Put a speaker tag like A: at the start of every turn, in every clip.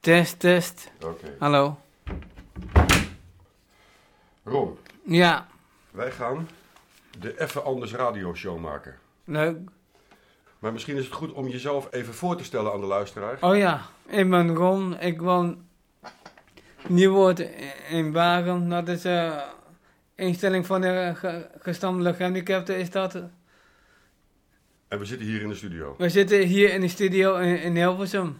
A: Test, test.
B: Oké.
A: Hallo.
B: Ron,
A: Ja,
B: wij gaan de Even Anders Radio Show maken.
A: leuk.
B: Maar misschien is het goed om jezelf even voor te stellen aan de luisteraar.
A: Oh ja, ik ben Ron. Ik woon Nieuwoord in Wagen. Dat is eh instelling van de ge- verstandelijk gehandicapten is dat.
B: En we zitten hier in de studio.
A: We zitten hier in de studio in, in Hilversum.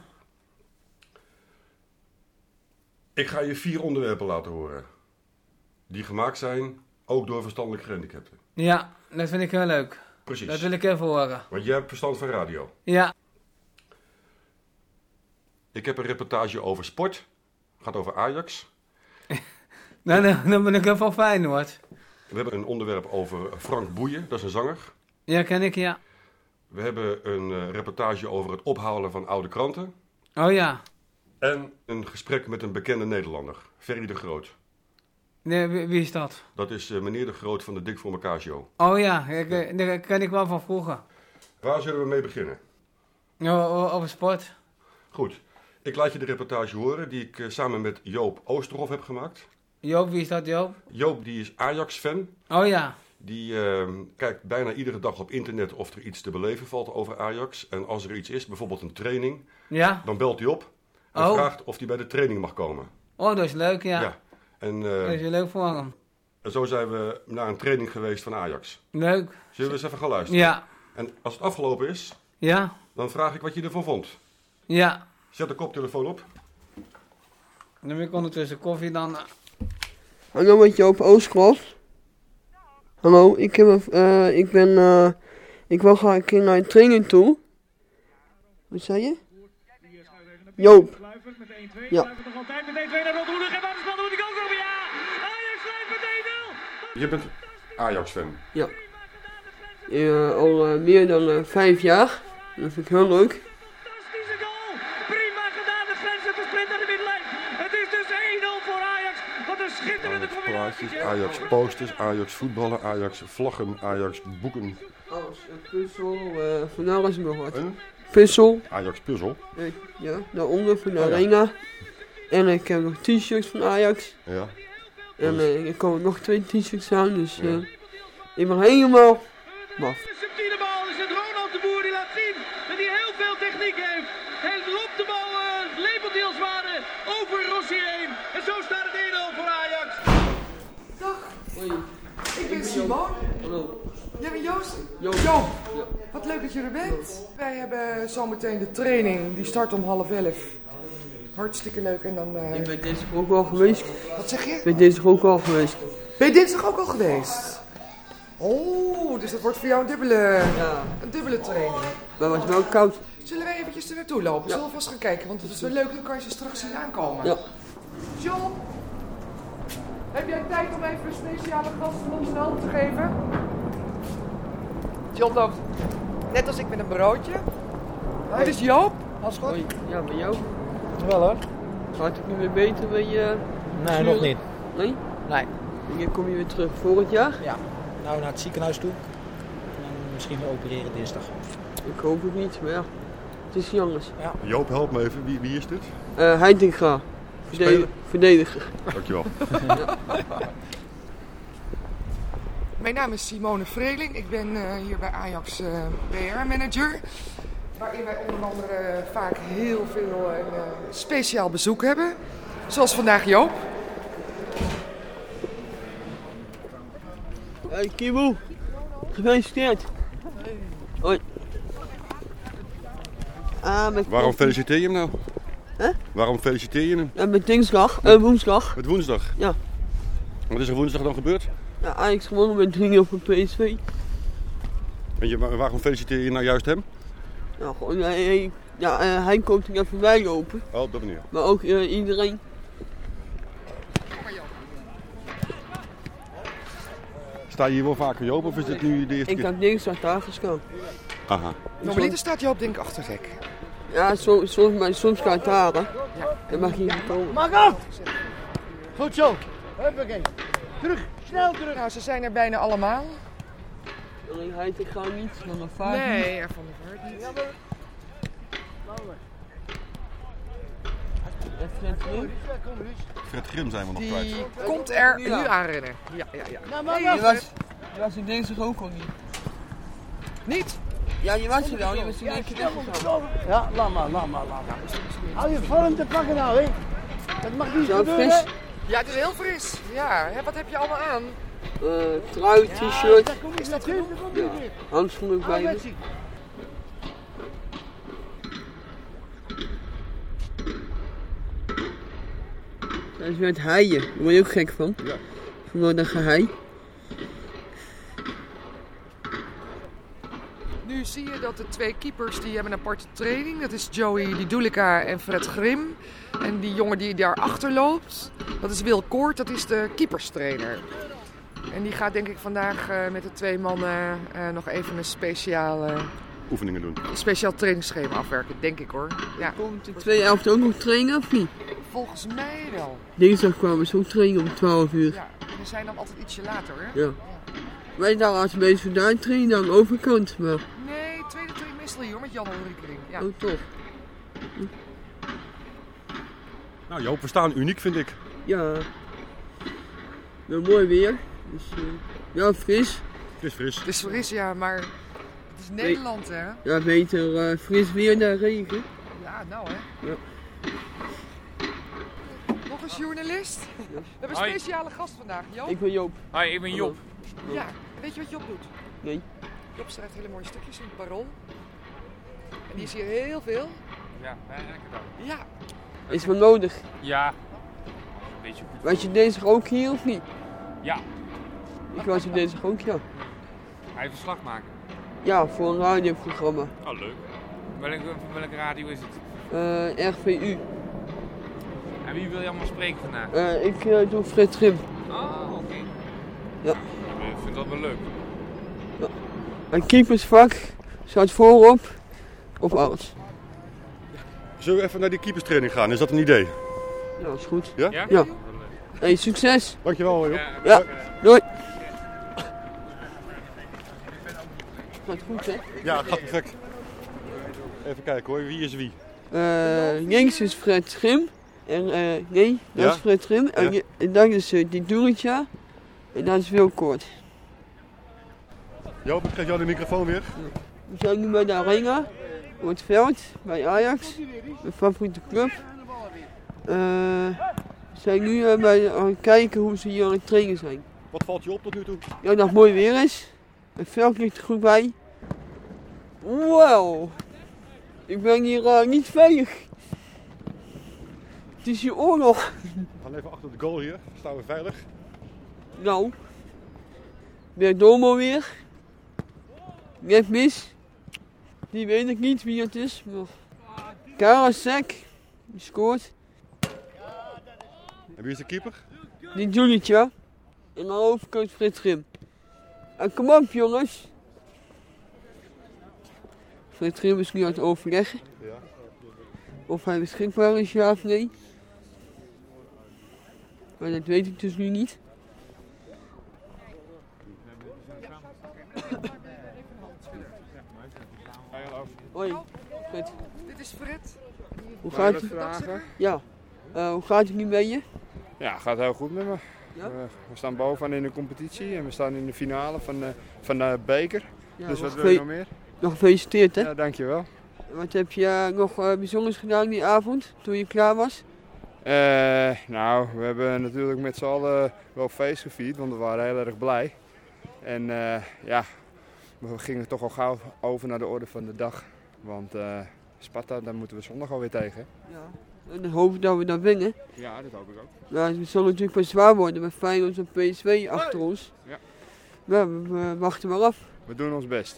B: Ik ga je vier onderwerpen laten horen. Die gemaakt zijn, ook door verstandelijk gehandicapten.
A: Ja, dat vind ik heel leuk. Dat
B: Precies.
A: wil ik even horen.
B: Want jij hebt verstand van radio.
A: Ja,
B: Ik heb een reportage over sport. Gaat over Ajax.
A: nou, dan, dan ben ik heel veel fijn hoor.
B: We hebben een onderwerp over Frank Boeien, dat is een zanger.
A: Ja, ken ik ja.
B: We hebben een eh, reportage over het ophalen van oude kranten.
A: Oh ja.
B: En een gesprek met een bekende Nederlander, Ferry de Groot.
A: Nee, wie, wie is dat?
B: Dat is eh, meneer de Groot van de Dik voor elkaar show.
A: Oh ja, ik, eh, daar ken ik wel van vroeger.
B: Waar zullen we mee beginnen?
A: Ja, o- over sport.
B: Goed, ik laat je de reportage horen die ik eh, samen met Joop Oosterhof heb gemaakt.
A: Joop, wie is dat Joop?
B: Joop die is Ajax-fan.
A: Oh ja.
B: Die eh, kijkt bijna iedere dag op internet of er iets te beleven valt over Ajax. En als er iets is, bijvoorbeeld een training,
A: Ja?
B: dan belt hij op en
A: Oh.
B: vraagt of hij bij de training mag komen.
A: Oh, dat is leuk, ja.
B: En
A: Dat is
B: eh,
A: leuk voor hem.
B: zo zijn we naar een training geweest van Ajax.
A: Leuk.
B: Zullen we eens even gaan luisteren?
A: Ja.
B: En als het afgelopen is,
A: Ja?
B: dan vraag ik wat je ervan vond.
A: Ja.
B: Zet de koptelefoon op.
A: Dan heb ik ondertussen koffie dan. eh,
C: Hallo met Joop Ooskroft. Hallo, ik, heb, een- eh, ik ben. eh, ik wil graag een keer naar een training toe. Wat zei je? Joop.
D: Kluivert met 1-2.
C: Ja.
D: Kluivert nog altijd met 1-2 naar Rothoedig. En waar is Van die kans over? Ja! Ajax leidt met 1-0!
B: Je bent Ajax-fan.
C: Ja. Eh, al eh, meer dan eh, vijf jaar. Dat vind ik heel leuk.
D: Fantastische goal! Prima gedaan, de grenzen te sprint naar de middenlijn. Het is dus 1-0 voor Ajax. Wat een schitterende combinatie.
B: Ajax-plaatjes,
D: zeg.
B: Ajax-posters, Ajax-voetballen, Ajax-vlaggen, Ajax-boeken,
C: Alles. puzzel, eh van alles nog wat.
B: een
C: Puzzel.
B: Ajax-puzzel.
C: eh, ja, daaronder van de
B: Oh, ja.
C: arena. En ik heb nog t-shirts van Ajax.
B: Ja. Dus-
C: En eh, er komen nog twee t-shirts aan. Dus eh,
B: Ja.
C: ik ben helemaal maf.
D: De subtiele bal is het Ronald de Boer die laat zien dat hij heel veel techniek heeft. Hij loopt de bal uh, lepeldeelswaarde over Rossi heen. En zo staat het 1-0 voor Ajax.
E: Dag, ik ben Simon.
C: Hallo.
E: Jij bent Joost?
C: Joop.
E: Joop. Wat leuk dat je er bent. Wij hebben zometeen de training, die start om half elf. Hartstikke leuk. En dan, eh,
C: Ik ben deze ook al geweest.
E: wat zeg je?
C: Ik ben deze ook al geweest.
E: Ben je dinsdag ook al geweest? Oh, dus dat wordt voor jou een dubbele,
C: Ja.
E: een dubbele training.
C: Maar het was wel koud.
E: Zullen wij eventjes er naartoe lopen? Zullen we vast gaan kijken, want het is wel leuk, dan kan je ze straks zien aankomen.
C: Ja.
E: John, heb jij tijd om even een speciale gast van ons een hand te geven? John loopt net als ik met een broodje. Dit is Joop. Als goed.
C: Hoi. Ja, bij jou.
F: Wel hoor.
C: Gaat het nu weer beter bij je?
F: Nee, nog niet.
C: Nee?
F: Nee.
C: Wanneer kom je weer terug? Volgend jaar?
F: Nou, naar het ziekenhuis toe. En misschien we opereren dinsdag.
C: Ik hoop het niet, maar ja. Het is niet anders.
B: Joop, help me even. Wie, wie is dit?
C: Eh Heitinga. Verde-
B: Speler.
C: Verdediger.
B: Dankjewel.
E: Mijn naam is Simone Vreeling. Ik ben eh, hier bij Ajax eh PR-manager. Waarin wij onder andere vaak heel veel eh, speciaal bezoek hebben. Zoals vandaag Joop.
C: Hey Kibo. Gefeliciteerd. Hoi. Ah, met,
B: Waarom feliciteer je hem nou?
C: Hè?
B: Waarom feliciteer je hem?
C: eh, met dinsdag, eh, woensdag.
B: Het woensdag.
C: Ja.
B: Wat is er woensdag dan gebeurd?
C: Ja, Ajax gewonnen met 3-0 van PSV.
B: En je, wa- waarom feliciteer je nou juist hem?
C: Nou, gewoon, hij, hij- ja, eh, hij komt er even bij lopen.
B: Oh, op dat manier.
C: Maar ook eh, iedereen.
B: Sta je hier wel vaker, Joop, of is dit nu de eerste
C: Ik
B: keer?
C: heb dinsdag daar gestaan.
B: Aha.
E: Normaliter staat Joop denk ik achter het hek.
C: Ja, soms, soms, maar soms kan het daar, hè. Dan mag je niet komen.
E: Nou, ze zijn er bijna allemaal.
C: Alleen hij ik ga niet, van de vaart niet.
E: Nee, er van de vaart niet.
B: Fred Grim zijn we nog kwijt.
E: Die komt er nu
C: Nu aan.
E: aanrennen. Ja, ja, ja.
C: Nou, maar
E: wacht.
C: Die was, die was in deze ook al niet.
E: Niet?
C: Ja, die was er wel. Die was in één keer weggegaan.
G: Ja, laat maar, laat maar, laat maar. Hou je vorm te pakken nou, hè. Dat mag niet
C: Zo
G: gebeuren.
C: fris.
E: Ja, het is heel fris. Ja, hè, wat heb je allemaal aan?
C: Eh, trui, t-shirt,
G: Daar kom ik naartoe, daar kom
C: Ja.
G: ik niet.
C: handschoenen bij
G: Hou
C: je.
G: met die.
C: Dat is met haaien. Daar word je ook gek van. Ja. Gewoon een gehaai.
E: Nu zie je dat de twee keepers die hebben een aparte training. Dat is Joey Lidulica en Fred Grim. En die jongen die daarachter loopt, dat is Wil Koort, dat is de keeperstrainer. En die gaat denk ik vandaag eh, met de twee mannen eh, nog even een speciaal, eh,
B: Oefeningen doen.
E: speciaal trainingsschema afwerken, denk ik hoor. Ja,
C: Komt de twee elfde ook nog trainen of niet?
E: volgens mij wel.
C: Dinsdag kwamen ze ook trainen om 12 uur.
E: Ja, we zijn dan altijd ietsje later hè?
C: Ja. Wij daar als mensen vandaan trainen aan de overkant, maar
E: Nee, tweede trimester hier hoor, met Jan Ulrikering. Ja.
C: ook Oh, toch.
B: Nou Joop, we staan uniek vind ik.
C: Ja. Nou, mooi weer. Dus, eh, ja, fris.
B: Het is fris.
E: Het is fris ja, maar het is Nederland hè?
C: Ja, beter eh, fris weer dan regen.
E: Ja, nou hè.
C: Ja.
E: Nog een journalist. We hebben een
H: Hoi.
E: speciale gast vandaag, Joop.
C: Ik ben Joop.
H: Hoi, ik ben Job.
E: Ja, en weet je wat Joop doet?
C: Nee.
E: Joop schrijft hele mooie stukjes in het Parool. En die is hier heel veel.
H: Ja, lekker dan.
E: Ja,
C: Is wel nodig.
H: Ja. Een beetje goed.
C: Was je dinsdag ook hier of niet?
H: Ja.
C: Ik was er dinsdag ook, ja.
H: Hij verslag maken.
C: Ja, voor een radioprogramma.
H: Oh, leuk. Welke, van welke radio is het?
C: Eh, RVU.
H: En wie wil je allemaal spreken vandaag?
C: Eh, ik eh, doe Fred Grim.
H: Oh, oké.
C: Ja.
H: Ik vind dat wel leuk.
C: Een keepersvak staat voorop op alles.
B: Zullen we even naar die keeperstraining gaan? Is dat een idee?
C: Nou, Ja, is goed.
H: Ja?
C: Ja. Hey, succes!
B: Dankjewel Joop.
H: Ja,
C: Ja, doei! Gaat goed, hè?
B: Ja, gaat perfect. Even kijken hoor, wie is wie?
C: Eh, links is Fred Grim. En, eh, nee, dat
B: Ja?
C: is Fred Grim. En,
B: Ja.
C: je- en dan is eh, die Doeritja. En dat is Wilkoort.
B: Joop, ik geef jou de microfoon weer.
C: We zijn nu bij de Arena. Op het veld, bij Ajax. Mijn favoriete club. Eh, we zijn nu eh, bij, aan het kijken hoe ze hier aan het trainen zijn.
B: Wat valt je op tot nu toe?
C: Ja, dat het mooi weer is. Het veld ligt er goed bij. Wow! Ik ben hier eh, niet veilig. Het is hier oorlog.
B: We gaan even achter de goal hier. Staan we veilig.
C: Nou. Weer Domo weer. Net mis. Die weet ik niet wie het is. Maar... Karasek. Die scoort.
B: En wie is de keeper?
C: Die Julitje. En dan overkant Frits Grim. En kom op jongens. Frits Grim is nu aan het overleggen.
B: Ja.
C: Of hij beschikbaar is, ja of nee. Maar dat weet ik dus nu niet. Hoi, Fred.
E: dit is Fred.
C: Hoe gaat het? Ja. Eh, hoe gaat het nu met je?
I: Ja, gaat heel goed met me.
C: Ja?
I: We, we staan bovenaan in de competitie en we staan in de finale van de, van de beker.
C: Ja,
I: dus
C: nog,
I: wat wil je
C: gefe-
I: nog meer?
C: nog gefeliciteerd, hè?
I: Ja, dankjewel.
C: Wat heb je eh, nog eh, bijzonders gedaan die avond, toen je klaar was?
I: Eh, nou, we hebben natuurlijk met z'n allen wel feest gevierd, want we waren heel erg blij. En eh, ja, we gingen toch al gauw over naar de orde van de dag. Want eh, Sparta, daar moeten we zondag alweer tegen.
C: Ja. En dan hoop ik dat we dat winnen.
I: Ja, dat hoop ik ook.
C: Ja, het zal natuurlijk wel zwaar worden met Feyenoord en PSV achter ons.
I: Ja.
C: Maar we, we wachten maar af.
I: We doen ons best.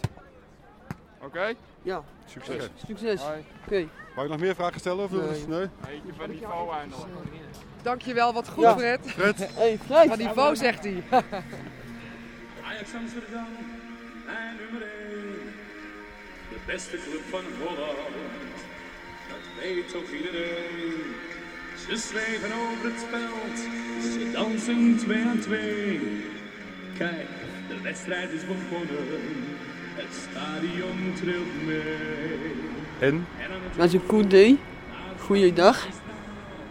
I: Oké?
C: Ja.
I: Succes.
C: Succes. Oké.
I: Hoi.
B: Mag ik nog meer vragen stellen? Of
C: Nee.
B: nee?
H: je van die vouw aan.
E: Dankjewel, wat goed
C: Ja.
E: Fred.
C: Hey, Fred.
E: Van niveau zegt hij.
J: Ajax Amsterdam en nummer 1. De beste club van Holland, dat weet ook iedereen. Ze zweven over het veld, ze dansen twee aan twee. Kijk, de wedstrijd is begonnen, het stadion trilt mee.
B: En?
J: En aan het
C: Dat is een goed day. Goeiedag.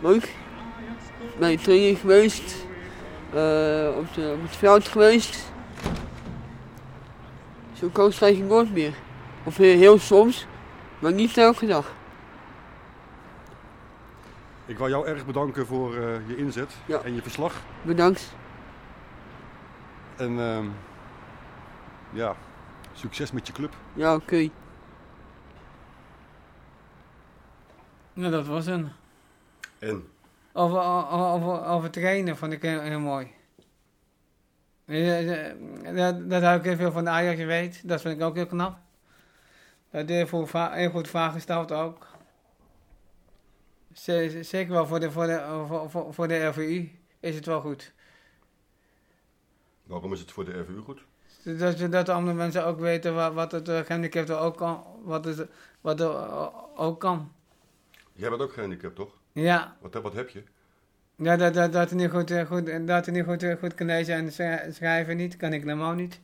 C: leuk. Bij de training geweest. eh, op, de, op het veld geweest. Zo koos hij geen woord meer. Of heel, heel soms, maar niet elke dag.
B: Ik wil jou erg bedanken voor eh, je inzet en je verslag.
C: Bedankt.
B: En ehm, ja, succes met je club.
C: Ja, oké.
A: Nou, dat was een.
B: En?
A: Over, over, over trainen vond ik heel, heel mooi. Eh, eh, Dat, dat hou ik heel veel van de Ajax weet. Dat vind ik ook heel knap. Dat deed voor va- heel goed voorgesteld ook. Z- z- Zeker wel voor de, voor de, voor, voor, voor de RVI is het wel goed.
B: Waarom is het voor de RVU goed?
A: Dat, dat de andere mensen ook weten wat, wat het eh, gehandicapte ook kan. Wat het, wat er eh, ook kan.
B: Jij bent ook gehandicapt, toch?
A: Ja.
B: Wat, heb- wat heb je?
A: Ja, dat, dat, dat hij niet goed, eh, goed, dat hij niet goed, eh, goed kan lezen en schrij- schrijven niet, kan ik normaal niet.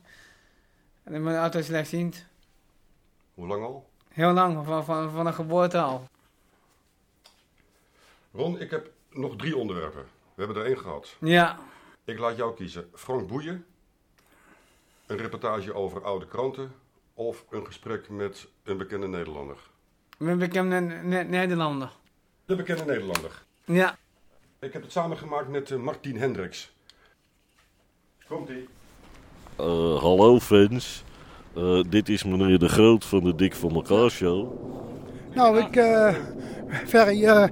A: En ik ben altijd slechtziend.
B: Hoe lang al?
A: Heel lang, van, van, van een geboorte al.
B: Ron, ik heb nog drie onderwerpen. We hebben er één gehad.
A: Ja.
B: Ik laat jou kiezen. Frank Boeien, een reportage over oude kranten of een gesprek met een bekende Nederlander.
A: Mijn bekende Ne- Nederlander.
B: De bekende Nederlander.
A: Ja.
B: Ik heb het samengemaakt met eh, Martin Hendricks. Komt-ie.
K: Eh, hallo fans. Eh, dit is meneer De Groot van de Dik van elkaar show.
G: Nou, ik, eh, Ferry, eh,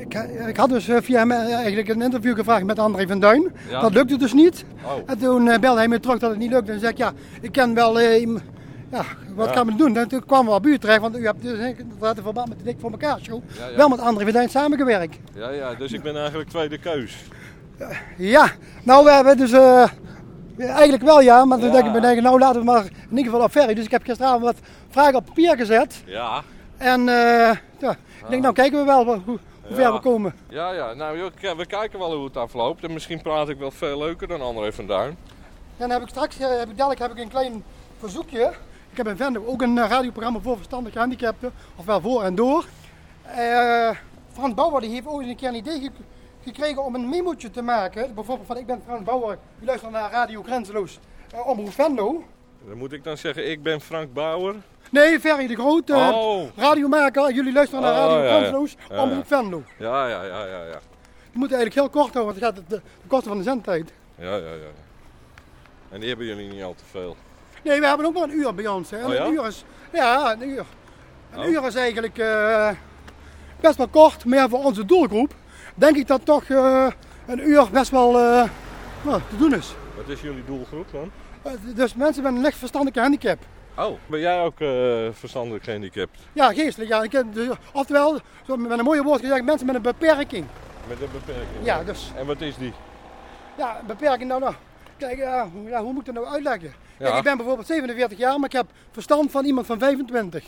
G: ik, ik had dus eh, via hem eh, eigenlijk een interview gevraagd met André van Duin.
K: Ja.
G: Dat lukte dus niet.
K: Oh.
G: En toen eh, belde hij me terug dat het niet lukte. En zei ik, ja, ik ken wel... eh, im- ja, wat
K: Ja.
G: kan men doen? En toen kwam wel buurt terecht, want u hebt dus eh, inderdaad in verband met de Dik voor elkaar show
K: Ja, ja.
G: wel met André van Duin samengewerkt.
K: Ja, ja, dus ik ben eigenlijk tweede keus.
G: Ja, nou we hebben dus eh, eigenlijk wel ja, maar toen denk ik bij eigen, nou laten we maar in ieder geval op ferry. Dus ik heb gisteravond wat vragen op papier gezet.
K: Ja.
G: En eh, ja, ik denk nou kijken we wel hoe, hoe ver
K: Ja.
G: we komen.
K: Ja, ja. Nou, joh, k- we kijken wel hoe het afloopt. En misschien praat ik wel veel leuker dan André van Duin.
G: Dan heb ik straks, eh, heb ik, dadelijk heb ik een klein verzoekje. Ik heb in Venlo ook een eh, radioprogramma voor verstandige gehandicapten, ofwel voor en door. Eh, Frans Bauer die heeft ooit een keer een idee ge- gekregen om een memootje te maken. Bijvoorbeeld van ik ben Frans Bauer, u luistert naar Radio Grenzeloos, eh, Omroep Venlo.
K: Dan moet ik dan zeggen, ik ben Frank Bauer.
G: Nee, Ferry de Groot, eh,
K: Oh.
G: radiomaker. Jullie luisteren naar
K: Oh,
G: Radio
K: ja, ja.
G: Kansloos,
K: Ja, ja.
G: Omroep Venlo.
K: Ja, ja, ja, ja, ja.
G: Je moet eigenlijk heel kort houden, want het gaat het, eh, de kosten van de zendtijd.
K: Ja, ja, ja. En die hebben jullie niet al te veel.
G: Nee, we hebben ook maar een uur bij ons. Hè. En
K: Oh, ja?
G: Een uur is, ja, een uur. Een
K: Oh.
G: uur is eigenlijk eh, best wel kort, maar ja, voor onze doelgroep denk ik dat toch eh, een uur best wel eh, nou, te doen is.
K: Wat is jullie doelgroep dan?
G: Eh, dus mensen met een licht verstandelijke handicap.
K: Oh, ben jij ook eh, verstandelijk gehandicapt?
G: Ja, geestelijk. Ja. Ik heb dus- Oftewel, zo met een mooie woord gezegd, mensen met een beperking.
K: Met een beperking?
G: Ja, dus.
K: En wat is die?
G: Ja, beperking nou nou. Kijk, ja, hoe, ja, hoe moet ik dat nou uitleggen?
K: Ja.
G: Kijk, ik ben bijvoorbeeld 47 jaar, maar ik heb verstand van iemand van 25.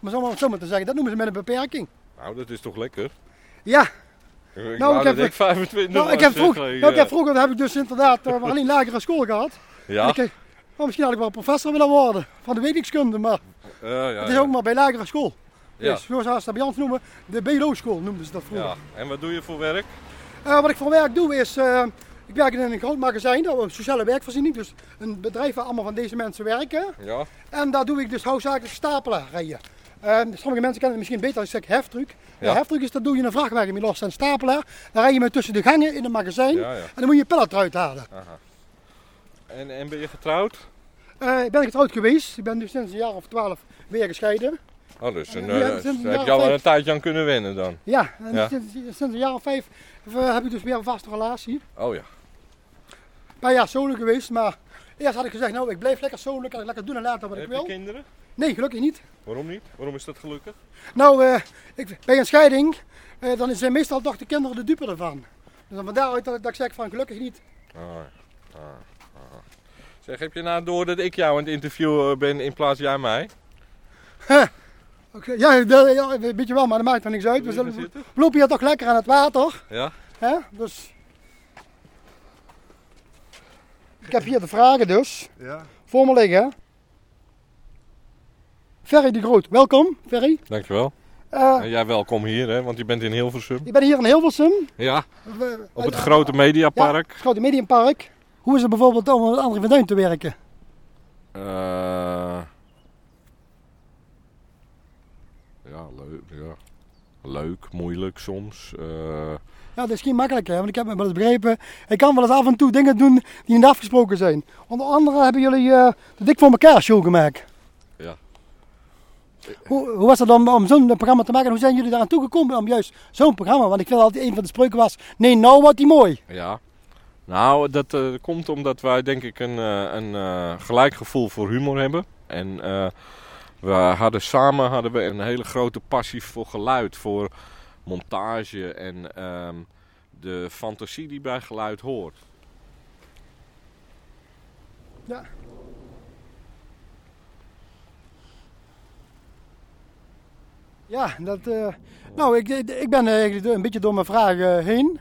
G: Om het zo maar, zo maar te zeggen, dat noemen ze met een beperking.
K: Nou, dat is toch lekker?
G: Ja.
K: Ik wou dat ik 25
G: nou, ik
K: was,
G: heb
K: zeg,
G: vroeg,
K: hey,
G: nou, ik heb
K: eh.
G: vroeger heb ik dus inderdaad eh, maar alleen lagere school gehad.
K: Ja.
G: En Ik, eh, nou, misschien had ik wel professor willen worden van de wetenschapskunde, maar
K: Ja, ja,
G: het is
K: ja.
G: ook maar bij lagere school.
K: Ja.
G: Dus, zoals ze dat bij ons noemen, de BLO-school noemden ze dat vroeger.
K: Ja. En wat doe je voor werk?
G: Eh, wat ik voor werk doe is, eh, ik werk in een groot magazijn, dat een sociale werkvoorziening, dus een bedrijf waar allemaal van deze mensen werken.
K: Ja.
G: En daar doe ik dus hoofdzakelijk stapelen rijden. Eh, sommige mensen kennen het misschien beter als ik zeg heftruck.
K: Ja.
G: Ja. Heftruck is, dat doe je een vrachtwagen mee los en stapelen. Dan rij je met tussen de gangen in een magazijn
K: Ja, ja.
G: en dan moet je een pallet eruit halen.
K: Aha. En, en ben je getrouwd?
G: Eh, ik ben getrouwd geweest, ik ben nu sinds een jaar of twaalf weer gescheiden.
K: Oh, dus een,
G: Ja,
K: eh,
G: dat is
K: daar
G: een jaar
K: heb je al
G: of
K: wel een
G: vijf.
K: tijdje aan kunnen wennen dan?
G: Ja, en Sinds, sinds een jaar of vijf eh, heb ik dus weer een vaste relatie.
K: Oh ja.
G: Een paar jaar solo Nou geweest, maar eerst had ik gezegd, nou ik blijf lekker solo, kan ik lekker doen en laten wat ik
K: Heb je
G: wil.
K: kinderen?
G: Nee, gelukkig niet.
K: Waarom niet? Waarom is dat gelukkig?
G: Nou, eh, ik, bij een scheiding, eh, dan zijn meestal toch de kinderen de dupe ervan. Dus dan van daaruit dat, ik- dat ik zeg van gelukkig niet.
K: Ah, ah, ah. Zeg, heb je nou door dat ik jou aan het interviewen ben in plaats jij mij?
G: Oké, ja, wel- ja, weet je wel, maar dat maakt er niks uit. We,
K: Wil je
G: zullen-
K: gaan
G: we lopen hier toch lekker aan het water.
K: Ja?
G: Hè? Dus... Ik heb hier de vragen dus.
K: Ja.
G: Voor me liggen. Ferry de Groot, welkom Ferry.
K: Dankjewel.
G: Eh, Eh,
K: En jij welkom hier, hè? want je bent in Hilversum.
G: ik ben hier in Hilversum.
K: Ja,
G: We-
K: op het grote mediapark.
G: Het grote mediumpark. Hoe is het bijvoorbeeld om met André van Duin te werken?
K: Eh, ja, leuk. Ja. Leuk, moeilijk soms. Eh,
G: Ja, dat is geen makkelijk, hè? want ik heb me wel eens begrepen. Ik kan wel eens af en toe dingen doen die niet afgesproken zijn. Onder andere hebben jullie eh, de Dik voor elkaar show gemaakt.
K: ja.
G: Hoe, hoe was het dan om zo'n programma te maken? Hoe zijn jullie daaraan toegekomen om juist zo'n programma? Want ik vind altijd een van de spreuken was, nee nou wat die mooi.
K: Ja. Nou, dat eh, komt omdat wij denk ik een, eh, een eh, gelijk gevoel voor humor hebben. En eh, we hadden samen hadden we een hele grote passie voor geluid, voor montage en ehm, de fantasie die bij geluid hoort.
G: Ja. Ja, dat, eh, nou, ik, ik ben eigenlijk een beetje door mijn vragen eh, heen.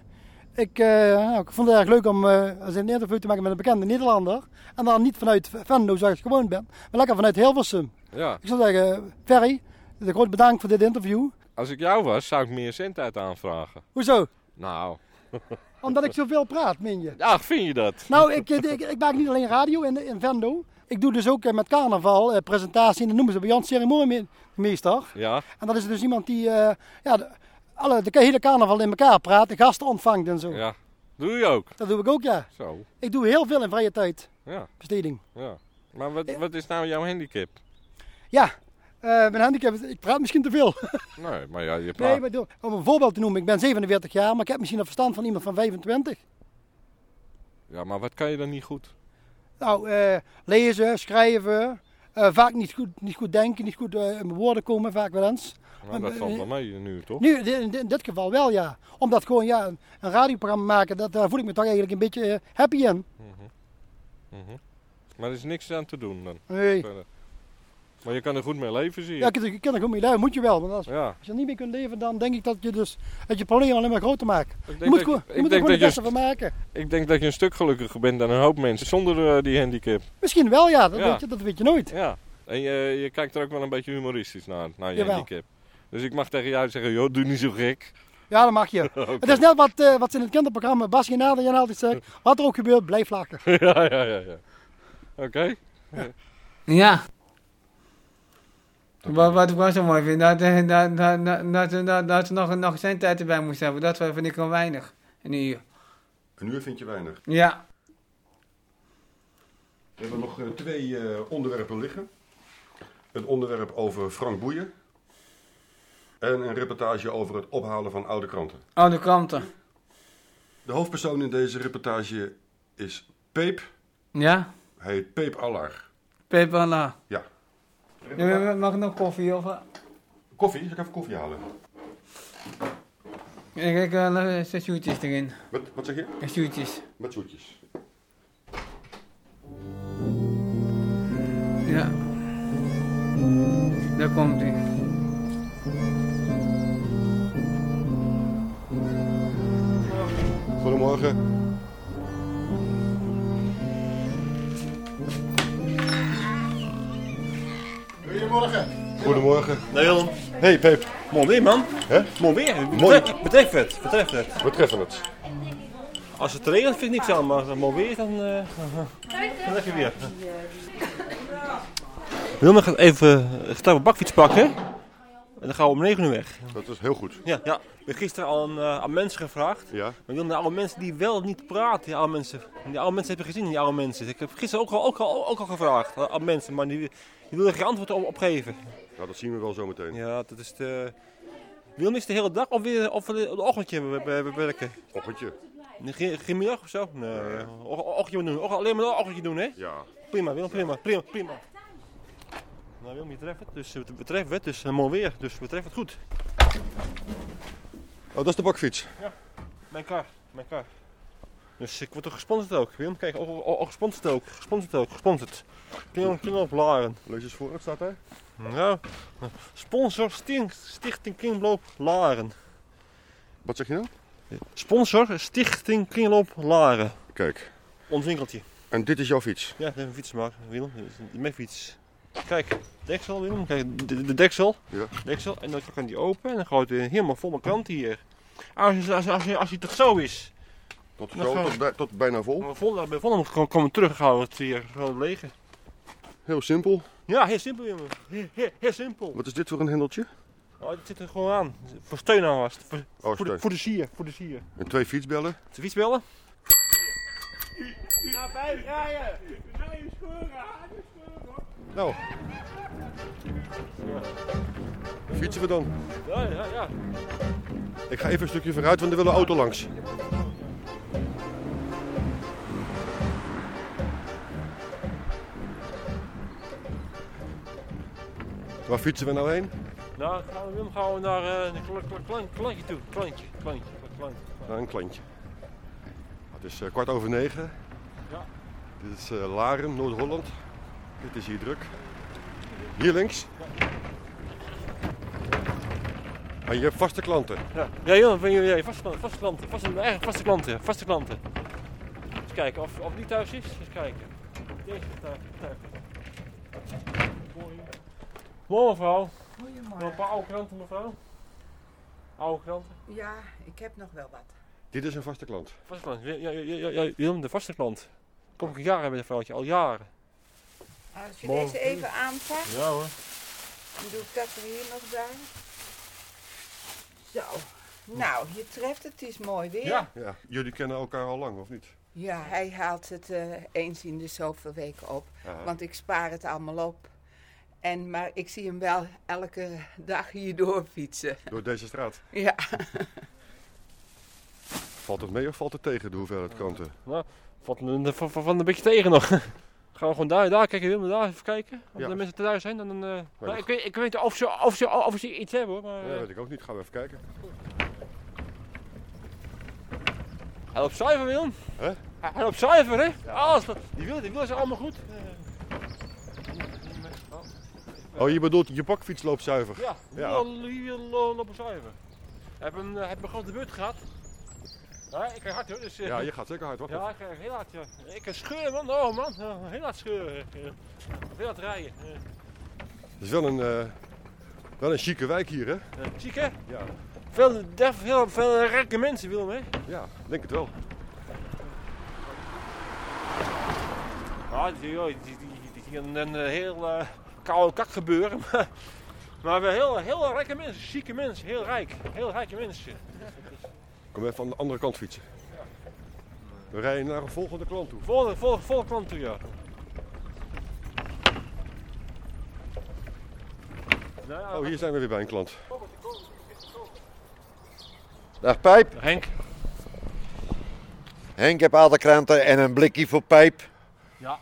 G: Ik, eh, nou, ik vond het erg leuk om eh, eens een interview te maken met een bekende Nederlander. En dan niet vanuit Venlo, zoals ik gewoon ben, maar lekker vanuit Hilversum.
K: Ja.
G: Ik zou zeggen, Ferry, de groot bedankt voor dit interview.
K: Als ik jou was, zou ik meer zendtijd aanvragen.
G: Hoezo?
K: Nou.
G: Omdat ik zoveel praat, meen je?
K: Ach, vind je dat?
G: Nou, ik, ik, ik- ik maak niet alleen radio in, in Venlo. Ik doe dus ook eh, met carnaval eh, presentatie en dat noemen ze bij Jan ceremoniemeester.
K: Ja.
G: En dat is dus iemand die eh, ja, de, alle, de hele carnaval in elkaar praat, de gasten ontvangt en zo.
K: Ja. Doe je ook?
G: Dat doe ik ook, ja.
K: Zo.
G: Ik doe heel veel in vrije tijd.
K: Ja.
G: Besteding.
K: Ja. Maar wat, wat is nou jouw handicap?
G: Ja, eh, mijn handicap is, ik praat misschien te veel.
K: Nee, maar ja, je praat.
G: nee, maar door- om een voorbeeld te noemen, ik ben 47 jaar, maar ik heb misschien een verstand van iemand van 25.
K: Ja, maar wat kan je dan niet goed?
G: Nou, eh, lezen, schrijven, eh, vaak niet goed, niet goed denken, niet goed eh, in mijn woorden komen, vaak wel eens. Eh,
K: Nou, dat valt wel mee nu, toch?
G: Nu, in, in dit geval wel ja. Omdat gewoon ja, een, een radioprogramma maken, dat, daar voel ik me toch eigenlijk een beetje eh, happy in.
K: Mhm. Mhm. Maar er is niks aan te doen dan?
G: Nee.
K: Verder. Maar je kan er goed mee leven, zie je?
G: Ja, ik, ik kan er goed mee leven, moet je wel. Want als,
K: Ja.
G: als je er niet mee kunt leven, dan denk ik dat je dus dat je probleem alleen maar groter maakt. Je
K: denk
G: moet,
K: dat-
G: gewoon-
K: ik
G: je moet er
K: denk
G: gewoon het
K: dat je-
G: beste van maken.
K: Ik denk dat je een stuk gelukkiger bent dan een hoop mensen zonder eh, die handicap.
G: Misschien wel ja, dat,
K: Ja.
G: Weet, je, dat weet je nooit.
K: Ja. En je, je kijkt er ook wel een beetje humoristisch naar, naar je
G: Jawel.
K: handicap. Dus ik mag tegen jou zeggen, joh, doe niet zo gek.
G: Ja, dat mag je.
K: Oké.
G: Het is net wat, eh, wat ze in het kinderprogramma Bas en Jan altijd zegt. Wat er ook gebeurt, blijf lachen.
K: ja, ja, ja. ja. Oké.
A: Ja. Wat, wat ik wel zo mooi vind, dat, eh, dat, dat, dat, dat, ze- dat, dat ze nog, nog zijn tijd erbij moest hebben. Dat vind ik wel weinig. Een uur.
B: Een uur vind je weinig.
A: Ja.
B: We hebben nog eh, twee eh, onderwerpen liggen. Het onderwerp over Frank Boeien. En een reportage over het ophalen van oude kranten.
A: Oude Oh, kranten.
B: De hoofdpersoon in deze reportage is Peep.
A: Ja?
B: Hij heet Peep Allar.
A: Pepala.
B: Ja.
A: Mag ik nog koffie of... eh,
B: Koffie? Zal ik even koffie halen?
A: Ik heb uh, zoetjes erin.
B: Wat, wat zeg je?
A: Zoetjes.
B: Met zoetjes.
A: Ja. Daar komt hij.
B: Goedemorgen.
L: Goedemorgen.
B: Goedemorgen.
L: Nee, Jan.
B: Hey Peep.
L: Mooi weer, man.
B: Hè?
L: Mooi weer.
B: Mooi.
L: Betreft, betreft het. Betreft het.
B: We treffen het.
L: Als het regent vind ik niks aan, maar als het mooi weer dan... eh dan heb je weer. Wilma gaat even eh, gaat een bakfiets pakken. En dan gaan we om 9 uur weg. Nou,
B: Dat is heel goed.
L: Ja, ja. Ik heb gisteren al een, eh, aan mensen gevraagd.
B: Ja.
L: Maar Wilma, alle mensen die wel niet praten, die oude mensen. Die oude mensen hebben gezien, die oude mensen. Ik heb gisteren ook al, ook al, ook al gevraagd eh, aan mensen, maar die, die wilden geen antwoord op, op geven.
B: Nou, dat zien we wel zo meteen.
L: Ja, dat is de... Wilma is de hele dag of, weer, of we de ochtendje we- we- we werken?
B: Ochtendje.
L: Geen, geen middag of zo? Nee. Och- Ochtendje doen. Och- alleen maar een ochtendje doen, hè?
B: Ja.
L: Prima, Wilma, prima, prima, prima. Nou, Wilma, je treft het. Dus eh, we treffen het. Dus eh, mooi weer. Dus we treffen het goed.
B: Oh, dat is de bakfiets.
L: Mijn kar, mijn kar. Dus ik word toch gesponsord ook, Wilma? Kijk, oh, oh, oh, gesponsord ook. Gesponsord ook, gesponsord. Kunnen kun op Laren.
B: Lees eens voor, wat staat daar?
L: Nou, sponsor Sting- Stichting Kringloop Laren.
B: Wat zeg je nou?
L: Sponsor Stichting Kringloop Laren.
B: Kijk.
L: Ons winkeltje.
B: En dit is jouw fiets?
L: Ja, dat is een fiets maar, Wilma. Dat is Mijn fiets. Kijk, deksel Willem. Kijk, de, de deksel.
B: Ja.
L: Deksel. En dan kan die open en dan gooit hij helemaal vol met kranten hier. Als, als, als, als, als hij toch zo is.
B: Tot
L: Dan
B: zo,
L: gaan we-
B: tot, bij- tot bijna vol.
L: Maar vol, bij vol komen kom terug gaan we het hier gewoon legen.
B: Heel simpel.
L: Ja, heel simpel jongen. Heel, heel, heel simpel.
B: Wat is dit voor een hendeltje?
L: Oh, dit zit er gewoon aan. Voor steun aan was het. Voor,
B: Oh,
L: voor, de,
B: steun.
L: voor de sier. Voor de sier.
B: En twee fietsbellen.
L: De fietsbellen?
J: Na vijf rijden. Ga je scoren, ga je scoren hoor.
B: Nou. Fietsen we dan.
L: Ja, ja, ja.
B: Ik ga even een stukje vooruit, want er willen auto langs. Waar fietsen we nou heen?
L: Nou, gaan we, Willem, gaan we naar eh, een kla- kla- klan- klantje toe. Klantje, klantje, klantje.
B: Naar een klantje. Het is eh, kwart over negen.
L: Ja.
B: Dit is eh Laren, Noord-Holland. Dit is hier druk. Hier links. En Ah, je hebt vaste klanten.
L: Ja, ja Willem, van jullie ja, vaste klanten, vaste klanten, vaste, mijn eigen vaste klanten, vaste klanten. Eens kijken of, of die thuis is. Eens kijken. Deze is thuis. thuis. Mooi. Mooi mevrouw. Nog een paar oude kranten mevrouw. Oude kranten.
M: Ja, ik heb nog wel wat.
B: Dit is een vaste klant.
L: Vaste klant. Ja, ja, ja, ja, ja, Willem, de vaste klant. Kom ik al jaren met een vrouwtje, al jaren.
M: Als je
L: Morgen
M: deze even aanpakt,
L: Ja hoor.
M: dan doe ik dat er hier nog bij. Zo. Nou, je treft het, het is mooi weer.
B: ja. Jullie kennen elkaar al lang, of niet?
M: Ja, hij haalt het eh, eens in de zoveel weken op.
B: Ja.
M: Want ik spaar het allemaal op. En, maar ik zie hem wel elke dag hier doorfietsen.
B: Door deze straat.
M: Ja.
B: Valt het mee of valt het tegen de hoeveelheid kranten?
L: Nou, valt een, van, van- van een beetje tegen nog. Gaan we gewoon daar, daar kijken, Willem, daar even kijken. Of
B: Ja.
L: de mensen thuis zijn, dan... eh, maar
B: dat-
L: ik, weet, ik weet niet of ze, of, ze, of ze iets hebben hoor, maar...
B: Ja,
L: eh,
B: weet ik ook niet. Gaan we even kijken.
L: Hij loopt zuiver, Willem.
B: Hè?
L: Hij hij loopt zuiver, hè? Alles, wat- die wielen, die wielen zijn allemaal goed.
B: Oh, je bedoelt je bakfiets loopt zuiver?
L: Ja, die
B: ja.
L: wielen- die wielen lo- lopen zuiver. Hij heeft een, eh, hij heeft een grote beurt gehad. Ja, ik ga hard hoor. Dus, eh,
B: Ja, je gaat zeker hard, wacht
L: Ja,
B: even.
L: ik ga heel hard. Ja. Ik kan scheuren, man. Oh, man. Eh, Heel hard scheuren. Eh, Heel hard rijden. Eh,
B: Het is wel een, eh, wel een chique wijk hier, hè?
L: eh, Ziek, hè?
B: Ja.
L: Veel, def- veel, veel rijke mensen, Willem, hè?
B: Ja, denk het wel.
L: Ja, die, joh, die, die, die, die een, een heel eh, koude kak gebeuren. Maar, maar we heel, heel rijke mensen, zieke mensen, heel rijk. Heel rijke mensen.
B: Kom even aan de andere kant fietsen. We rijden naar een volgende klant toe.
L: Volgende, volgende, volgende klant toe, ja. Nou ja,
B: Oh, hier zijn we weer bij een klant. Dag Pijp.
L: Henk.
N: Henk heb alle kranten en een blikje voor Pijp.
L: Ja.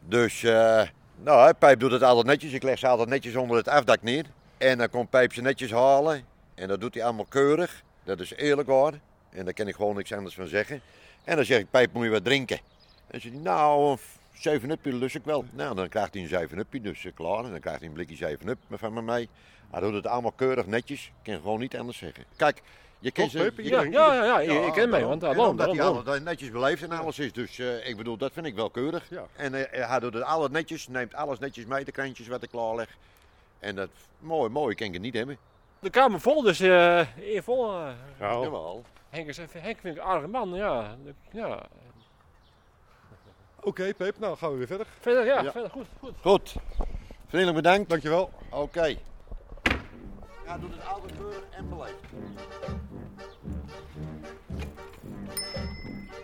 N: Dus, eh, nou, hè, Pijp doet het altijd netjes. Ik leg ze altijd netjes onder het afdak neer. En dan komt Pijp ze netjes halen. En dat doet hij allemaal keurig. Dat is eerlijk hoor. En daar kan ik gewoon niks anders van zeggen. En dan zeg ik, Pijp, moet je wat drinken? En ze zegt, nou, een 7 upje lust ik wel. Nou, dan krijgt hij een 7 upje, dus eh, klaar. En dan krijgt hij een blikje 7 up van me mee. Hij doet het allemaal keurig netjes. Ik kan gewoon niet anders zeggen. Kijk, je kent
L: Toch, Pijp? Ja, ja, ja, ja, ik ken mij, want, ah,
N: En
L: daarom,
N: omdat hij
L: daarom.
N: altijd dat hij netjes beleefd en alles is. Dus eh, ik bedoel, dat vind ik wel keurig. En eh, hij doet het alles netjes, neemt alles netjes mee, de krantjes wat ik klaarleg. En dat, mooi, mooi, kan ik het niet hebben.
L: De kamer vol, dus eh eervol. eh.
N: Jawel.
L: Henk, is, Henk vind ik een aardige man, ja. ja.
B: Oké, Peep, nou gaan we weer verder.
L: Verder, ja,
N: Ja.
L: verder, goed, goed.
N: Goed. Vriendelijk bedankt.
B: Dankjewel.
N: Oké. Hij doet het altijd keurig en beleefd.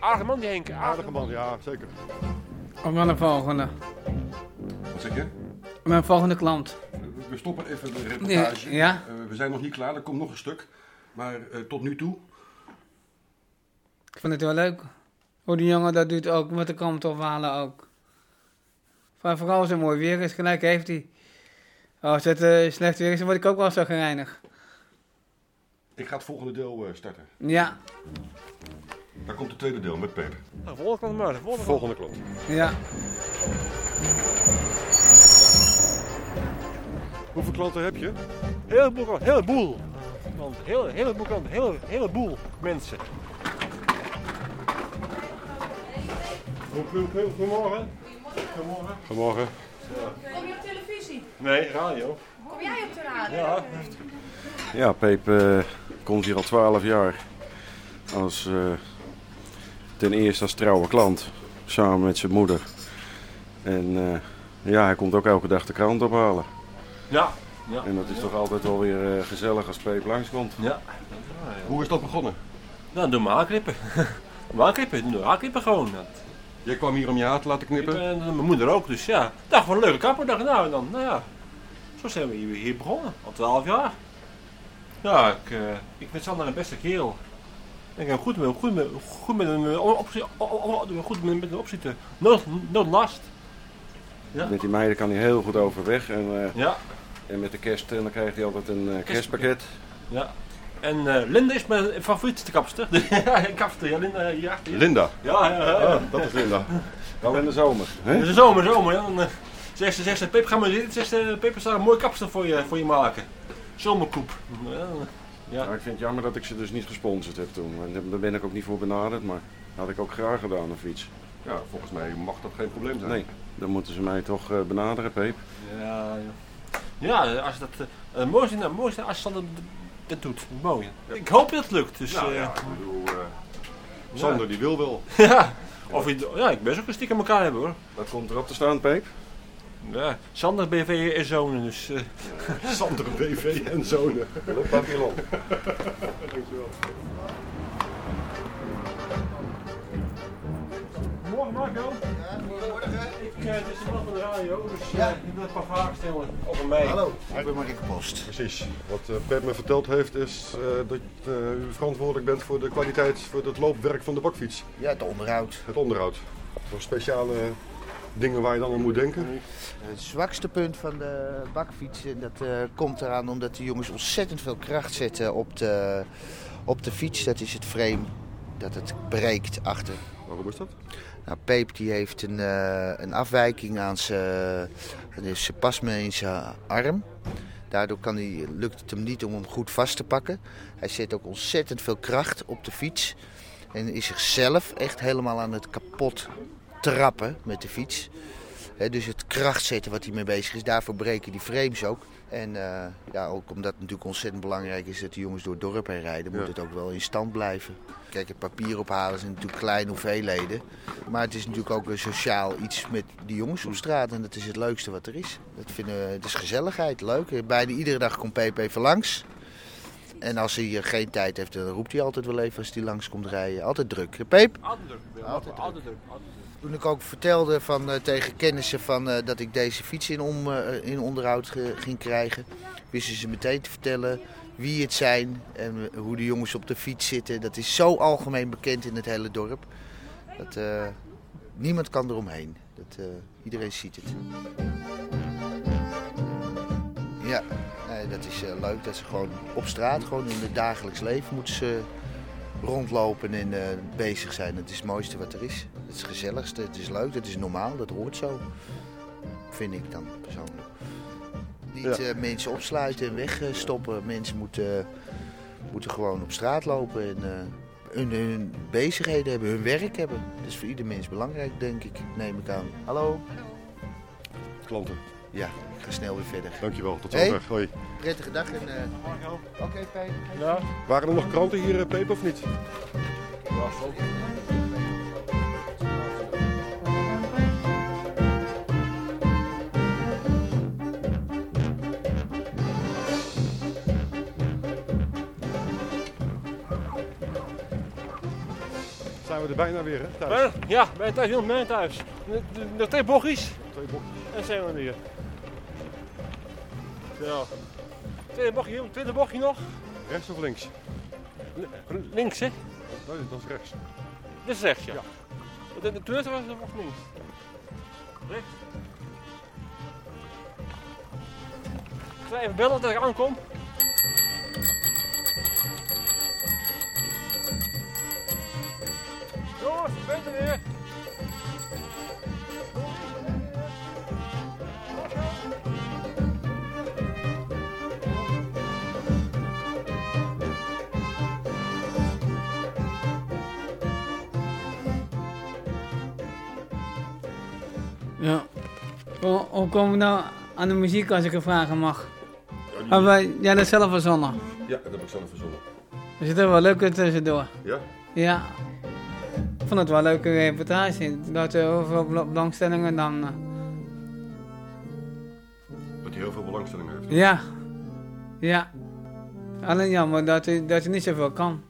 L: Aardige man die Henk.
B: Aardige man, ja, zeker.
A: Op naar de volgende.
B: Wat zeg je?
A: Mijn volgende klant.
B: We stoppen even de reportage.
A: Nee, ja.
B: Eh, we zijn nog niet klaar, er komt nog een stuk. Maar eh, tot nu toe.
A: Ik vind het wel leuk. Hoe die jongen dat doet ook, met de kant ophalen ook. Maar vooral als het mooi weer is, gelijk heeft hij. Als het eh, slecht weer is, dan word ik ook wel zo gereinigd.
B: Ik ga het volgende deel eh, starten.
A: Ja,
B: Daar komt het tweede deel met Peep.
L: Nou, volgende klant maar, de volgende,
B: Volgende klant.
A: ja.
B: Hoeveel klanten heb je?
L: Heleboel, klanten, heleboel. eh, Klanten, hele, heleboel klanten, hele, heleboel mensen.
B: Goedemorgen. Goedemorgen.
O: Kom je op televisie?
L: Nee, radio.
O: Kom jij op de radio?
L: Ja.
P: Ja, Peep eh, komt hier al 12 jaar. Als, eh, ten eerste als trouwe klant, samen met zijn moeder. En eh, ja, hij komt ook elke dag de krant ophalen.
L: Ja. ja.
P: En dat is toch altijd wel weer eh, gezellig als Peep langskomt.
L: Ja.
P: Hoe is dat begonnen?
L: Nou, door mijn haarknippen. mijn haarknippen, door mijn haarknippen gewoon. Jij kwam hier om je haar te laten knippen? mijn moeder ook, dus ja. Dacht van een leuke kapper, dacht ik, nou en dan, nou ja. Zo zijn we hier, hier begonnen, al twaalf jaar. Ja, ik, eh, ik vind Sander een beste kerel. Ik heb goed met, goed met, goed met eh, een optie, goed met, met een optie te, nooit, nooit last. Ja.
P: Met die meiden kan hij heel goed overweg. En, eh,
L: Ja.
P: en met de kerst eh, dan krijgt hij altijd een eh, kerstpakket.
L: Ja. En eh, Linda is mijn favoriete kapster. kapster, ja, Linda. Ah, Ja, ja.
P: Linda?
L: Ja, ja, ja.
P: Oh, dat is Linda. Nou, in de zomer.
L: Het is de zomer, zomer. Ja. Dan eh, zegt ze, zegt ze, Pip, ga maar zitten. Zegt ze, eh, Pip, er staat een mooi kapster voor je, voor je maken. Zomerkoep. Ja,
P: Ja. ik vind het jammer dat ik ze dus niet gesponsord heb toen. En daar ben ik ook niet voor benaderd, maar had ik ook graag gedaan of iets.
B: Ja, volgens mij mag dat geen probleem zijn.
P: Nee, dan moeten ze mij toch eh, benaderen, Peep.
L: Ja, ja. Ja, als dat, eh, eh, mooi is nou, mooi is nou als Sander d- dat doet. Mooi. Ik hoop dat het lukt. Dus,
B: Nou
L: eh,
B: ja, ik bedoel, eh, Sander die wil wel.
L: ja. Of je, ja, ik ben ook een stiekem elkaar hebben hoor.
P: Wat komt erop te staan, Peep?
L: Ja, Sander BV en zonen, dus... eh.
B: Sander BV en zonen.
P: Dank je wel.
B: Dankjewel.
L: Morgen Marco. Goedemorgen. Ik, eh, het is de man van de radio, dus eh, ik wil een paar vragen stellen over mij.
B: Hallo,
L: ik ben Marieke Post.
B: Precies. Wat eh Pep me verteld heeft is eh, dat eh, u verantwoordelijk bent voor de kwaliteit, voor het loopwerk van de bakfiets.
Q: Ja, het onderhoud.
B: Het onderhoud. Voor speciale dingen waar je dan aan moet denken.
Q: Het zwakste punt van de bakfiets, en dat eh, komt eraan omdat de jongens ontzettend veel kracht zetten op de, op de fiets. Dat is het frame dat het breekt achter.
B: Waarom is dat?
Q: Nou, Peep die heeft een, eh, een afwijking aan zijn dus zijn pasme in zijn arm. Daardoor kan hij, lukt het hem niet om hem goed vast te pakken. Hij zet ook ontzettend veel kracht op de fiets. En is zichzelf echt helemaal aan het kapot trappen met de fiets. Hè, dus het kracht zetten wat hij mee bezig is. Daarvoor breken die frames ook. En eh, ja, ook omdat het natuurlijk ontzettend belangrijk is dat de jongens door het dorp heen rijden, moet het ook wel in stand blijven. Kijk, het papier ophalen zijn natuurlijk kleine hoeveelheden. Maar het is natuurlijk ook een sociaal iets met de jongens op straat. En dat is het leukste wat er is. Dat vinden, we- het is gezelligheid, leuk. Bijna iedere dag komt Peep even langs. En als hij eh, geen tijd heeft, dan roept hij altijd wel even als hij langs komt rijden. Altijd druk. Peep?
L: Altijd druk. ja, Altijd druk. Altijd druk.
Q: Toen ik ook vertelde van, eh, tegen kennissen van, eh, dat ik deze fiets in, om, eh, in onderhoud ge- ging krijgen, wisten ze meteen te vertellen wie het zijn en eh, hoe de jongens op de fiets zitten. Dat is zo algemeen bekend in het hele dorp. Dat, eh, niemand kan eromheen. Dat, eh, iedereen ziet het. Ja, nee, dat is eh, leuk dat ze gewoon op straat, gewoon in het dagelijks leven moeten ze rondlopen en eh, bezig zijn. Dat is het mooiste wat er is. Het is het gezelligste, het is leuk, het is normaal, dat hoort zo. Vind ik dan persoonlijk. Niet eh, mensen opsluiten en wegstoppen. Mensen moeten, moeten gewoon op straat lopen en eh, hun, hun bezigheden hebben, hun werk hebben. Dat is voor ieder mens belangrijk, denk ik, neem ik aan. Hallo?
B: Klanten.
Q: Ja, ik ga snel weer verder.
B: Dankjewel, tot
Q: Hey.
B: zover. Hoi.
Q: Prettige dag en... eh, Oké, Peter.
L: Ja.
B: Waren er nog kranten hier, eh, Peep, of niet? Zijn we er bijna weer, hè? Thuis.
L: Ben, ja, ben je thuis? Heel ben je thuis. Nog- Nog twee bochtjes. Twee bochtjes. En zijn we weer. Zo. Tweede bochtje, jongen. tweede bochtje nog.
B: Rechts of links?
L: links, hè?
B: Nee, dat is rechts.
L: Dit is rechts, ja. De, de tweede was was links. Rechts. Ik ga even bellen dat ik aankom. Jongens, ik ben er weer.
A: Ja. Hoe, hoe komen we nou aan de muziek als ik een vragen mag? Hebben wij- jij dat zelf verzonnen?
B: Ja, dat heb ik zelf verzonnen.
A: Er zit er wel leuk eh, tussendoor.
B: Ja?
A: Ja. Ik vond het wel een leuke reportage. Dat er heel veel bela- belangstellingen dan... eh,
B: Dat hij heel veel belangstelling heeft.
A: Ja. Ja. Alleen jammer dat hij, dat hij niet zoveel kan.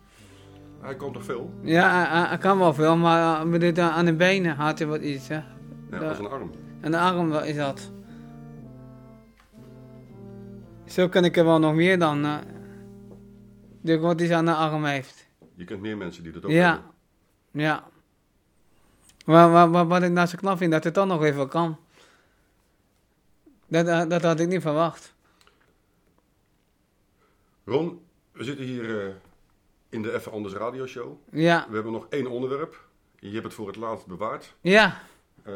B: Hij komt toch veel?
A: Ja, hij, hij- hij kan wel veel, maar eh, bedoelt, eh, aan de benen had hij wat iets, hè?
B: Ja,
A: Dat-
B: als een arm.
A: Aan de arm wel is dat. Zo kan ik er wel nog meer dan. eh dus wat hij aan de arm heeft.
B: Je kent meer mensen die dat ook
A: ja.
B: hebben.
A: Ja. Maar, maar, maar wat ik nou zo knap vind, dat het dan nog even kan. Dat, eh, dat had ik niet verwacht.
B: Ron, we zitten hier eh, in de Even Anders Radio Show.
A: Ja.
B: We hebben nog één onderwerp. Je hebt het voor het laatst bewaard.
A: Ja,
B: Eh,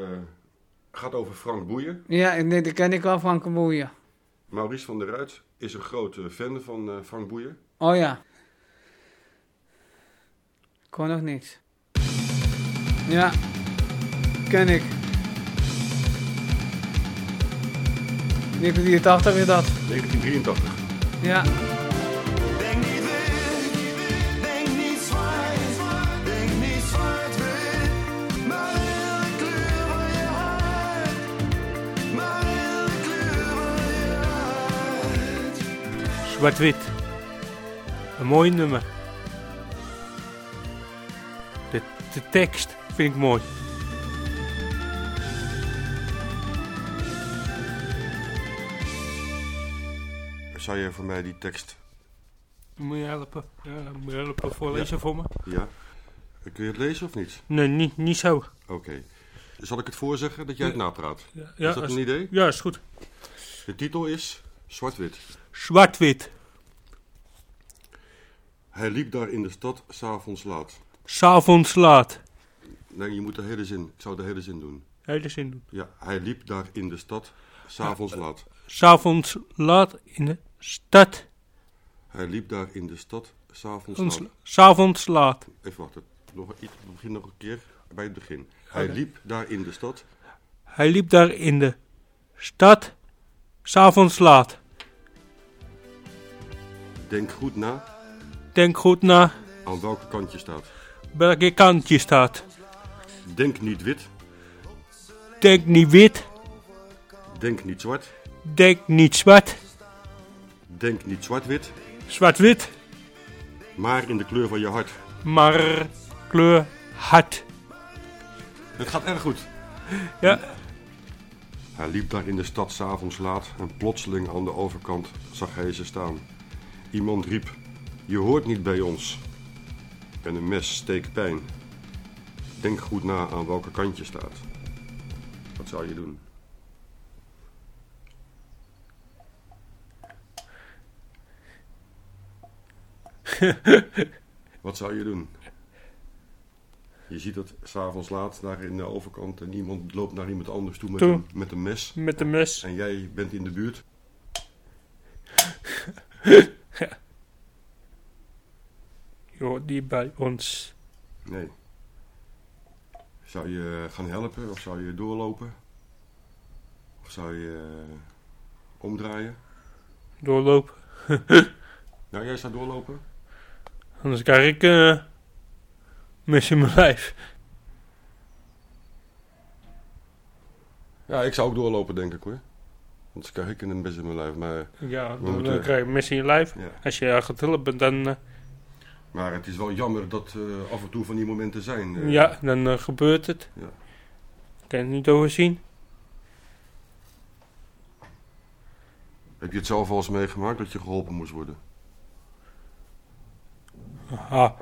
B: gaat over Frank Boeien.
A: ja ik, nee, dat ken ik wel van Kaboeien.
B: Maurice van der Ruit is een grote fan van eh, Frank Boeien.
A: Oh ja. Ik hoor nog niks. Ja, ken ik. 1983 weer dat.
B: 1983.
A: Ja.
J: Denk niet wit, denk niet zwart, denk niet zwart-wit, maar wil de kleur van je hart, maar wil de kleur van je hart.
R: Zwart-wit. Een mooi nummer. De, de tekst vind ik mooi.
B: Zou je voor mij die tekst...
R: Moet je helpen? Ja, moet je helpen voorlezen voor me?
B: Ja. Kun je het lezen of niet?
R: Nee, niet, niet zo.
B: Oké. Zal ik het voorzeggen dat jij het napraat?
R: Ja,
B: is dat
R: als-
B: een idee?
R: Ja, is goed.
B: De titel is Zwart-Wit.
R: Zwart-wit.
B: Hij liep daar in de stad s'avonds laat.
R: S'avonds laat.
B: Nee, je moet de hele zin. Ik zou de hele zin doen.
R: Hele zin doen.
B: Ja, hij liep daar in de stad s'avonds laat.
R: S'avonds laat in de stad.
B: Hij liep daar in de stad s'avonds
R: Ons-
B: laat.
R: S'avonds laat.
B: Even wachten. Nog iets. We beginnen nog een keer bij het begin. Hij
R: Oké.
B: liep daar in de stad.
R: Hij liep daar in de stad. S'avonds laat.
B: Denk goed na
R: Denk goed na
B: aan welke kant je staat.
R: welke kant je staat.
B: Denk niet wit.
R: Denk niet wit.
B: Denk niet zwart.
R: Denk niet zwart.
B: Denk niet zwart-wit.
R: Zwart-wit.
B: Maar in de kleur van je hart.
R: Maar kleur hard.
B: Het gaat erg goed.
R: Ja.
B: Hij liep daar in de stad s'avonds laat en plotseling aan de overkant zag hij ze staan. Iemand riep: Je hoort niet bij ons. En een mes steekt pijn. Denk goed na aan welke kant je staat. Wat zou je doen? Wat zou je doen? Je ziet dat s'avonds laat daar in de overkant en iemand loopt naar iemand anders toe met,
R: Toe.
B: Een, met een mes.
R: Met een mes.
B: En jij bent in de buurt.
R: Joh, die bij ons.
B: Nee. Zou je eh, gaan helpen of zou je doorlopen? Of zou je eh, omdraaien?
R: Doorlopen.
B: Nou, jij zou doorlopen.
R: Anders krijg ik eh mes in mijn lijf.
B: Ja, ik zou ook doorlopen, denk ik hoor. Anders krijg ik een mes in mijn lijf. Maar,
R: Ja,
B: we
R: dan
B: moeten-
R: eh, krijg je mes in je lijf. Als je gaat helpen, dan, eh,
B: maar het is wel jammer dat eh, af en toe van die momenten zijn. eh.
R: ja, dan eh, gebeurt het.
B: Ja.
R: Kan je het niet overzien.
B: Heb je het zelf al eens meegemaakt dat je geholpen moest worden?
R: Ha,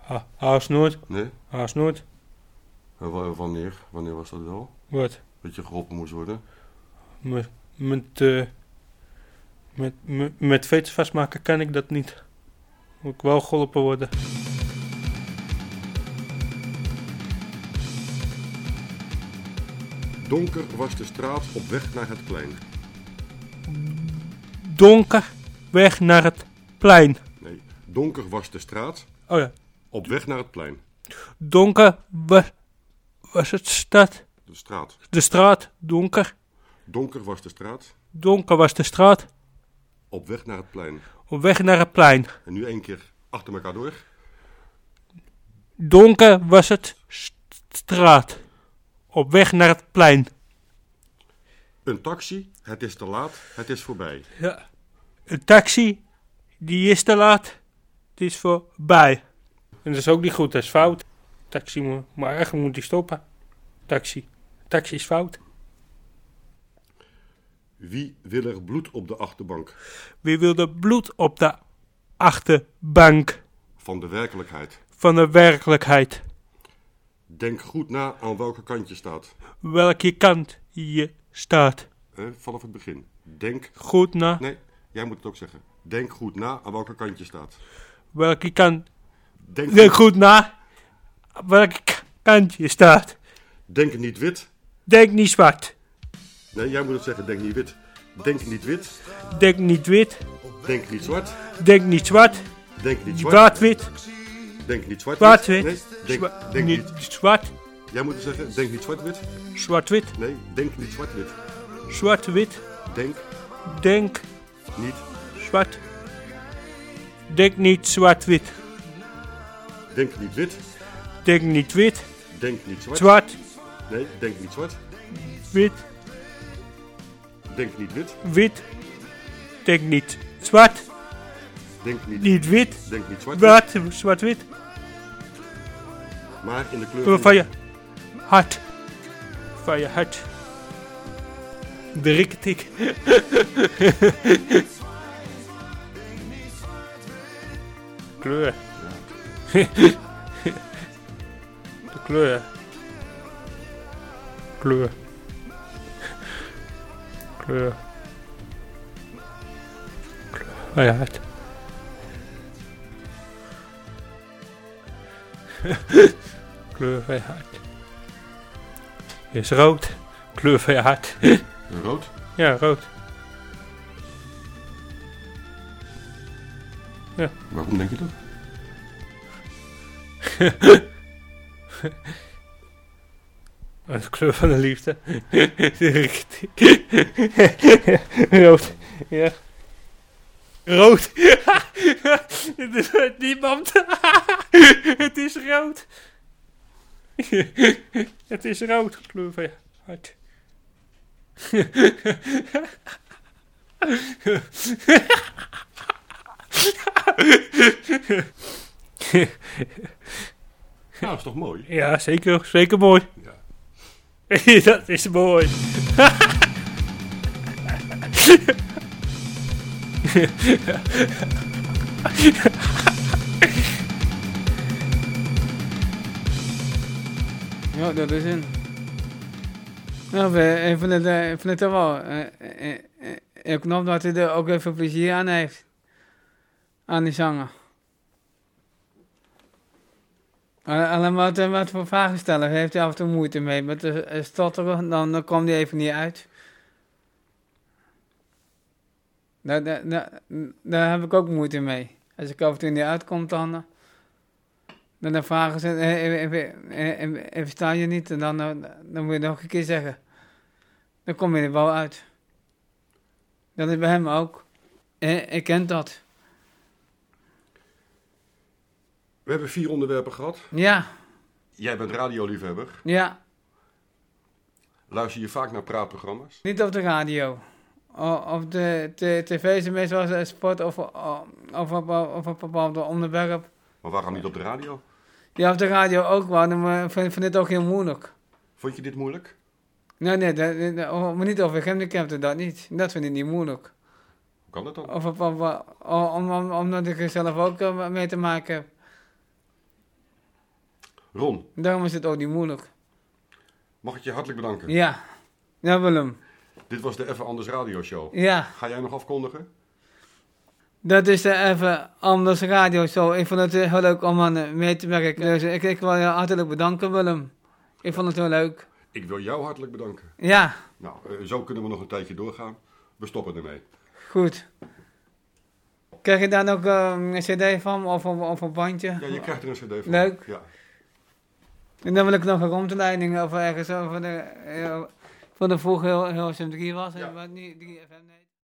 R: ha, haast nooit.
B: Nee?
R: Haast nooit.
B: En wa- wanneer? Wanneer was dat wel?
R: Wat?
B: Dat je geholpen moest worden?
R: Met, met, eh, met, met, met veters vastmaken kan ik dat niet. Moet ik wel geholpen worden.
B: Donker was de straat op weg naar het plein.
R: Donker, weg naar het plein.
B: Nee, donker was de straat
R: Oh ja.
B: op weg naar het plein.
R: Donker wa- was het stad.
B: De straat.
R: De straat donker.
B: Donker was de straat,
R: Donker was de straat,
B: op weg naar het plein.
R: op weg naar het plein.
B: En nu één keer achter elkaar door.
R: Donker was het st- straat, op weg naar het plein.
B: Een taxi, het is te laat, het is voorbij.
R: Ja. Een taxi, die is te laat. Het is voorbij. En dat is ook niet goed, dat is fout. Taxi, moet- maar eigenlijk moet die stoppen. Taxi. Taxi is fout.
B: Wie wil er bloed op de achterbank?
R: Wie wilde bloed op de achterbank
B: Van de werkelijkheid.
R: van de werkelijkheid?
B: Denk goed na aan welke kant je staat.
R: Welke kant je staat.
B: Eh, vanaf het begin. Denk.
R: Goed na.
B: Nee, jij moet het ook zeggen. Denk goed na aan welke kant je staat.
R: Welke kant.
B: Denk
R: Denk goed na. Welke k- kant je staat.
B: Denk niet wit.
R: Denk niet zwart.
B: Nee, jij moet het zeggen. Denk niet wit. Denk niet wit.
R: Denk niet wit.
B: Denk niet zwart.
R: Denk niet zwart.
B: Denk niet zwart.
R: Zwart-wit.
B: Denk niet zwart.
R: Zwart-wit.
B: Nee, denk, denk niet.
R: Niet zwart.
B: Jij moet het zeggen. Denk niet zwart-wit.
R: Zwart-wit.
B: Nee, denk niet zwart-wit.
R: Zwart-wit.
B: Denk
R: Denk
B: niet.
R: zwart. Denk niet zwart-wit.
B: Denk niet wit.
R: Denk niet wit.
B: Denk niet zwart.
R: Zwart.
B: Nee, denk niet zwart.
R: Wit.
B: Denk niet wit.
R: Wit. Denk niet zwart.
B: Denk niet,
R: Niet wit.
B: Denk niet zwart-wit.
R: Wat? Zwart-wit.
B: Maar in de kleur
R: Van je hart. Van je hart. De rikketik. kleur. De kleur. Kleur. Kleur. Van je hart. kleur van je hart. Is rood. Kleur van je hart.
B: Rood?
R: ja, rood.
B: Waarom denk je dat?
R: De kleur van de liefde. rood. Ja. Rood. Het is uit niemand. Het is rood. Het is rood. Kleur van je hart.
B: Nou, is toch mooi?
R: Ja, zeker. Zeker mooi. Dat is mooi.
A: Ja, dat is een. Ja, we- ik vind het, eh, ik vind het wel. eh, eh, eh, Ik hoop dat hij er ook even plezier aan heeft. Aan die zanger. Al- Alleen wat, eh, wat voor vragen stellen heeft hij af en toe moeite mee. Met de eh, stotteren, dan, dan komt hij even niet uit. Daar, daar, daar, daar heb ik ook moeite mee. Als ik af en toe niet uitkom, dan... eh, dan dan vragen ze, eh, eh, eh, eh, eh, eh, versta je niet? En dan, eh, dan moet je nog een keer zeggen. Dan kom je er wel uit. Dat is bij hem ook. Eh, Ik ken dat.
B: We hebben vier onderwerpen gehad.
A: Ja,
B: Jij bent radioliefhebber.
A: ja.
B: Luister je vaak naar praatprogramma's?
A: Niet op de radio. O- Op de t- tv is het meestal eh, sport of, o- of, op- of op een bepaald onderwerp.
B: Maar waarom niet op de radio?
A: Ja, op de radio ook wel, maar eh, vind, vind het ook heel moeilijk.
B: Vond je dit moeilijk?
A: Nee, nee, dat, dat- dat- oh, maar niet over gehandicapten, dat niet. Dat vind ik niet moeilijk.
B: Hoe kan dat dan?
A: Of, of, of, of- om, om, omdat ik er zelf ook eh, mee te maken heb.
B: Ron,
A: Daarom is het ook niet moeilijk.
B: mag ik je hartelijk bedanken.
A: Ja. Ja, Willem.
B: Dit was de Even Anders Radio Show.
A: Ja.
B: Ga jij nog afkondigen?
A: Dat is eh, even anders radio zo. Ik vond het eh, heel leuk om aan eh, mee te werken. Dus ik, ik wil je hartelijk bedanken, Willem. Ik vond het heel leuk.
B: Ik wil jou hartelijk bedanken.
A: Ja,
B: Nou, eh, zo kunnen we nog een tijdje doorgaan. We stoppen ermee.
A: goed. Krijg je daar nog eh, een cd van of, of, of een bandje?
B: Ja, je krijgt er een cd van.
A: Leuk.
B: Ja.
A: En dan wil ik nog een rondleiding over ergens over de, eh, Van de vroeger heel, heel 3 was en wat niet 3FM. Nee.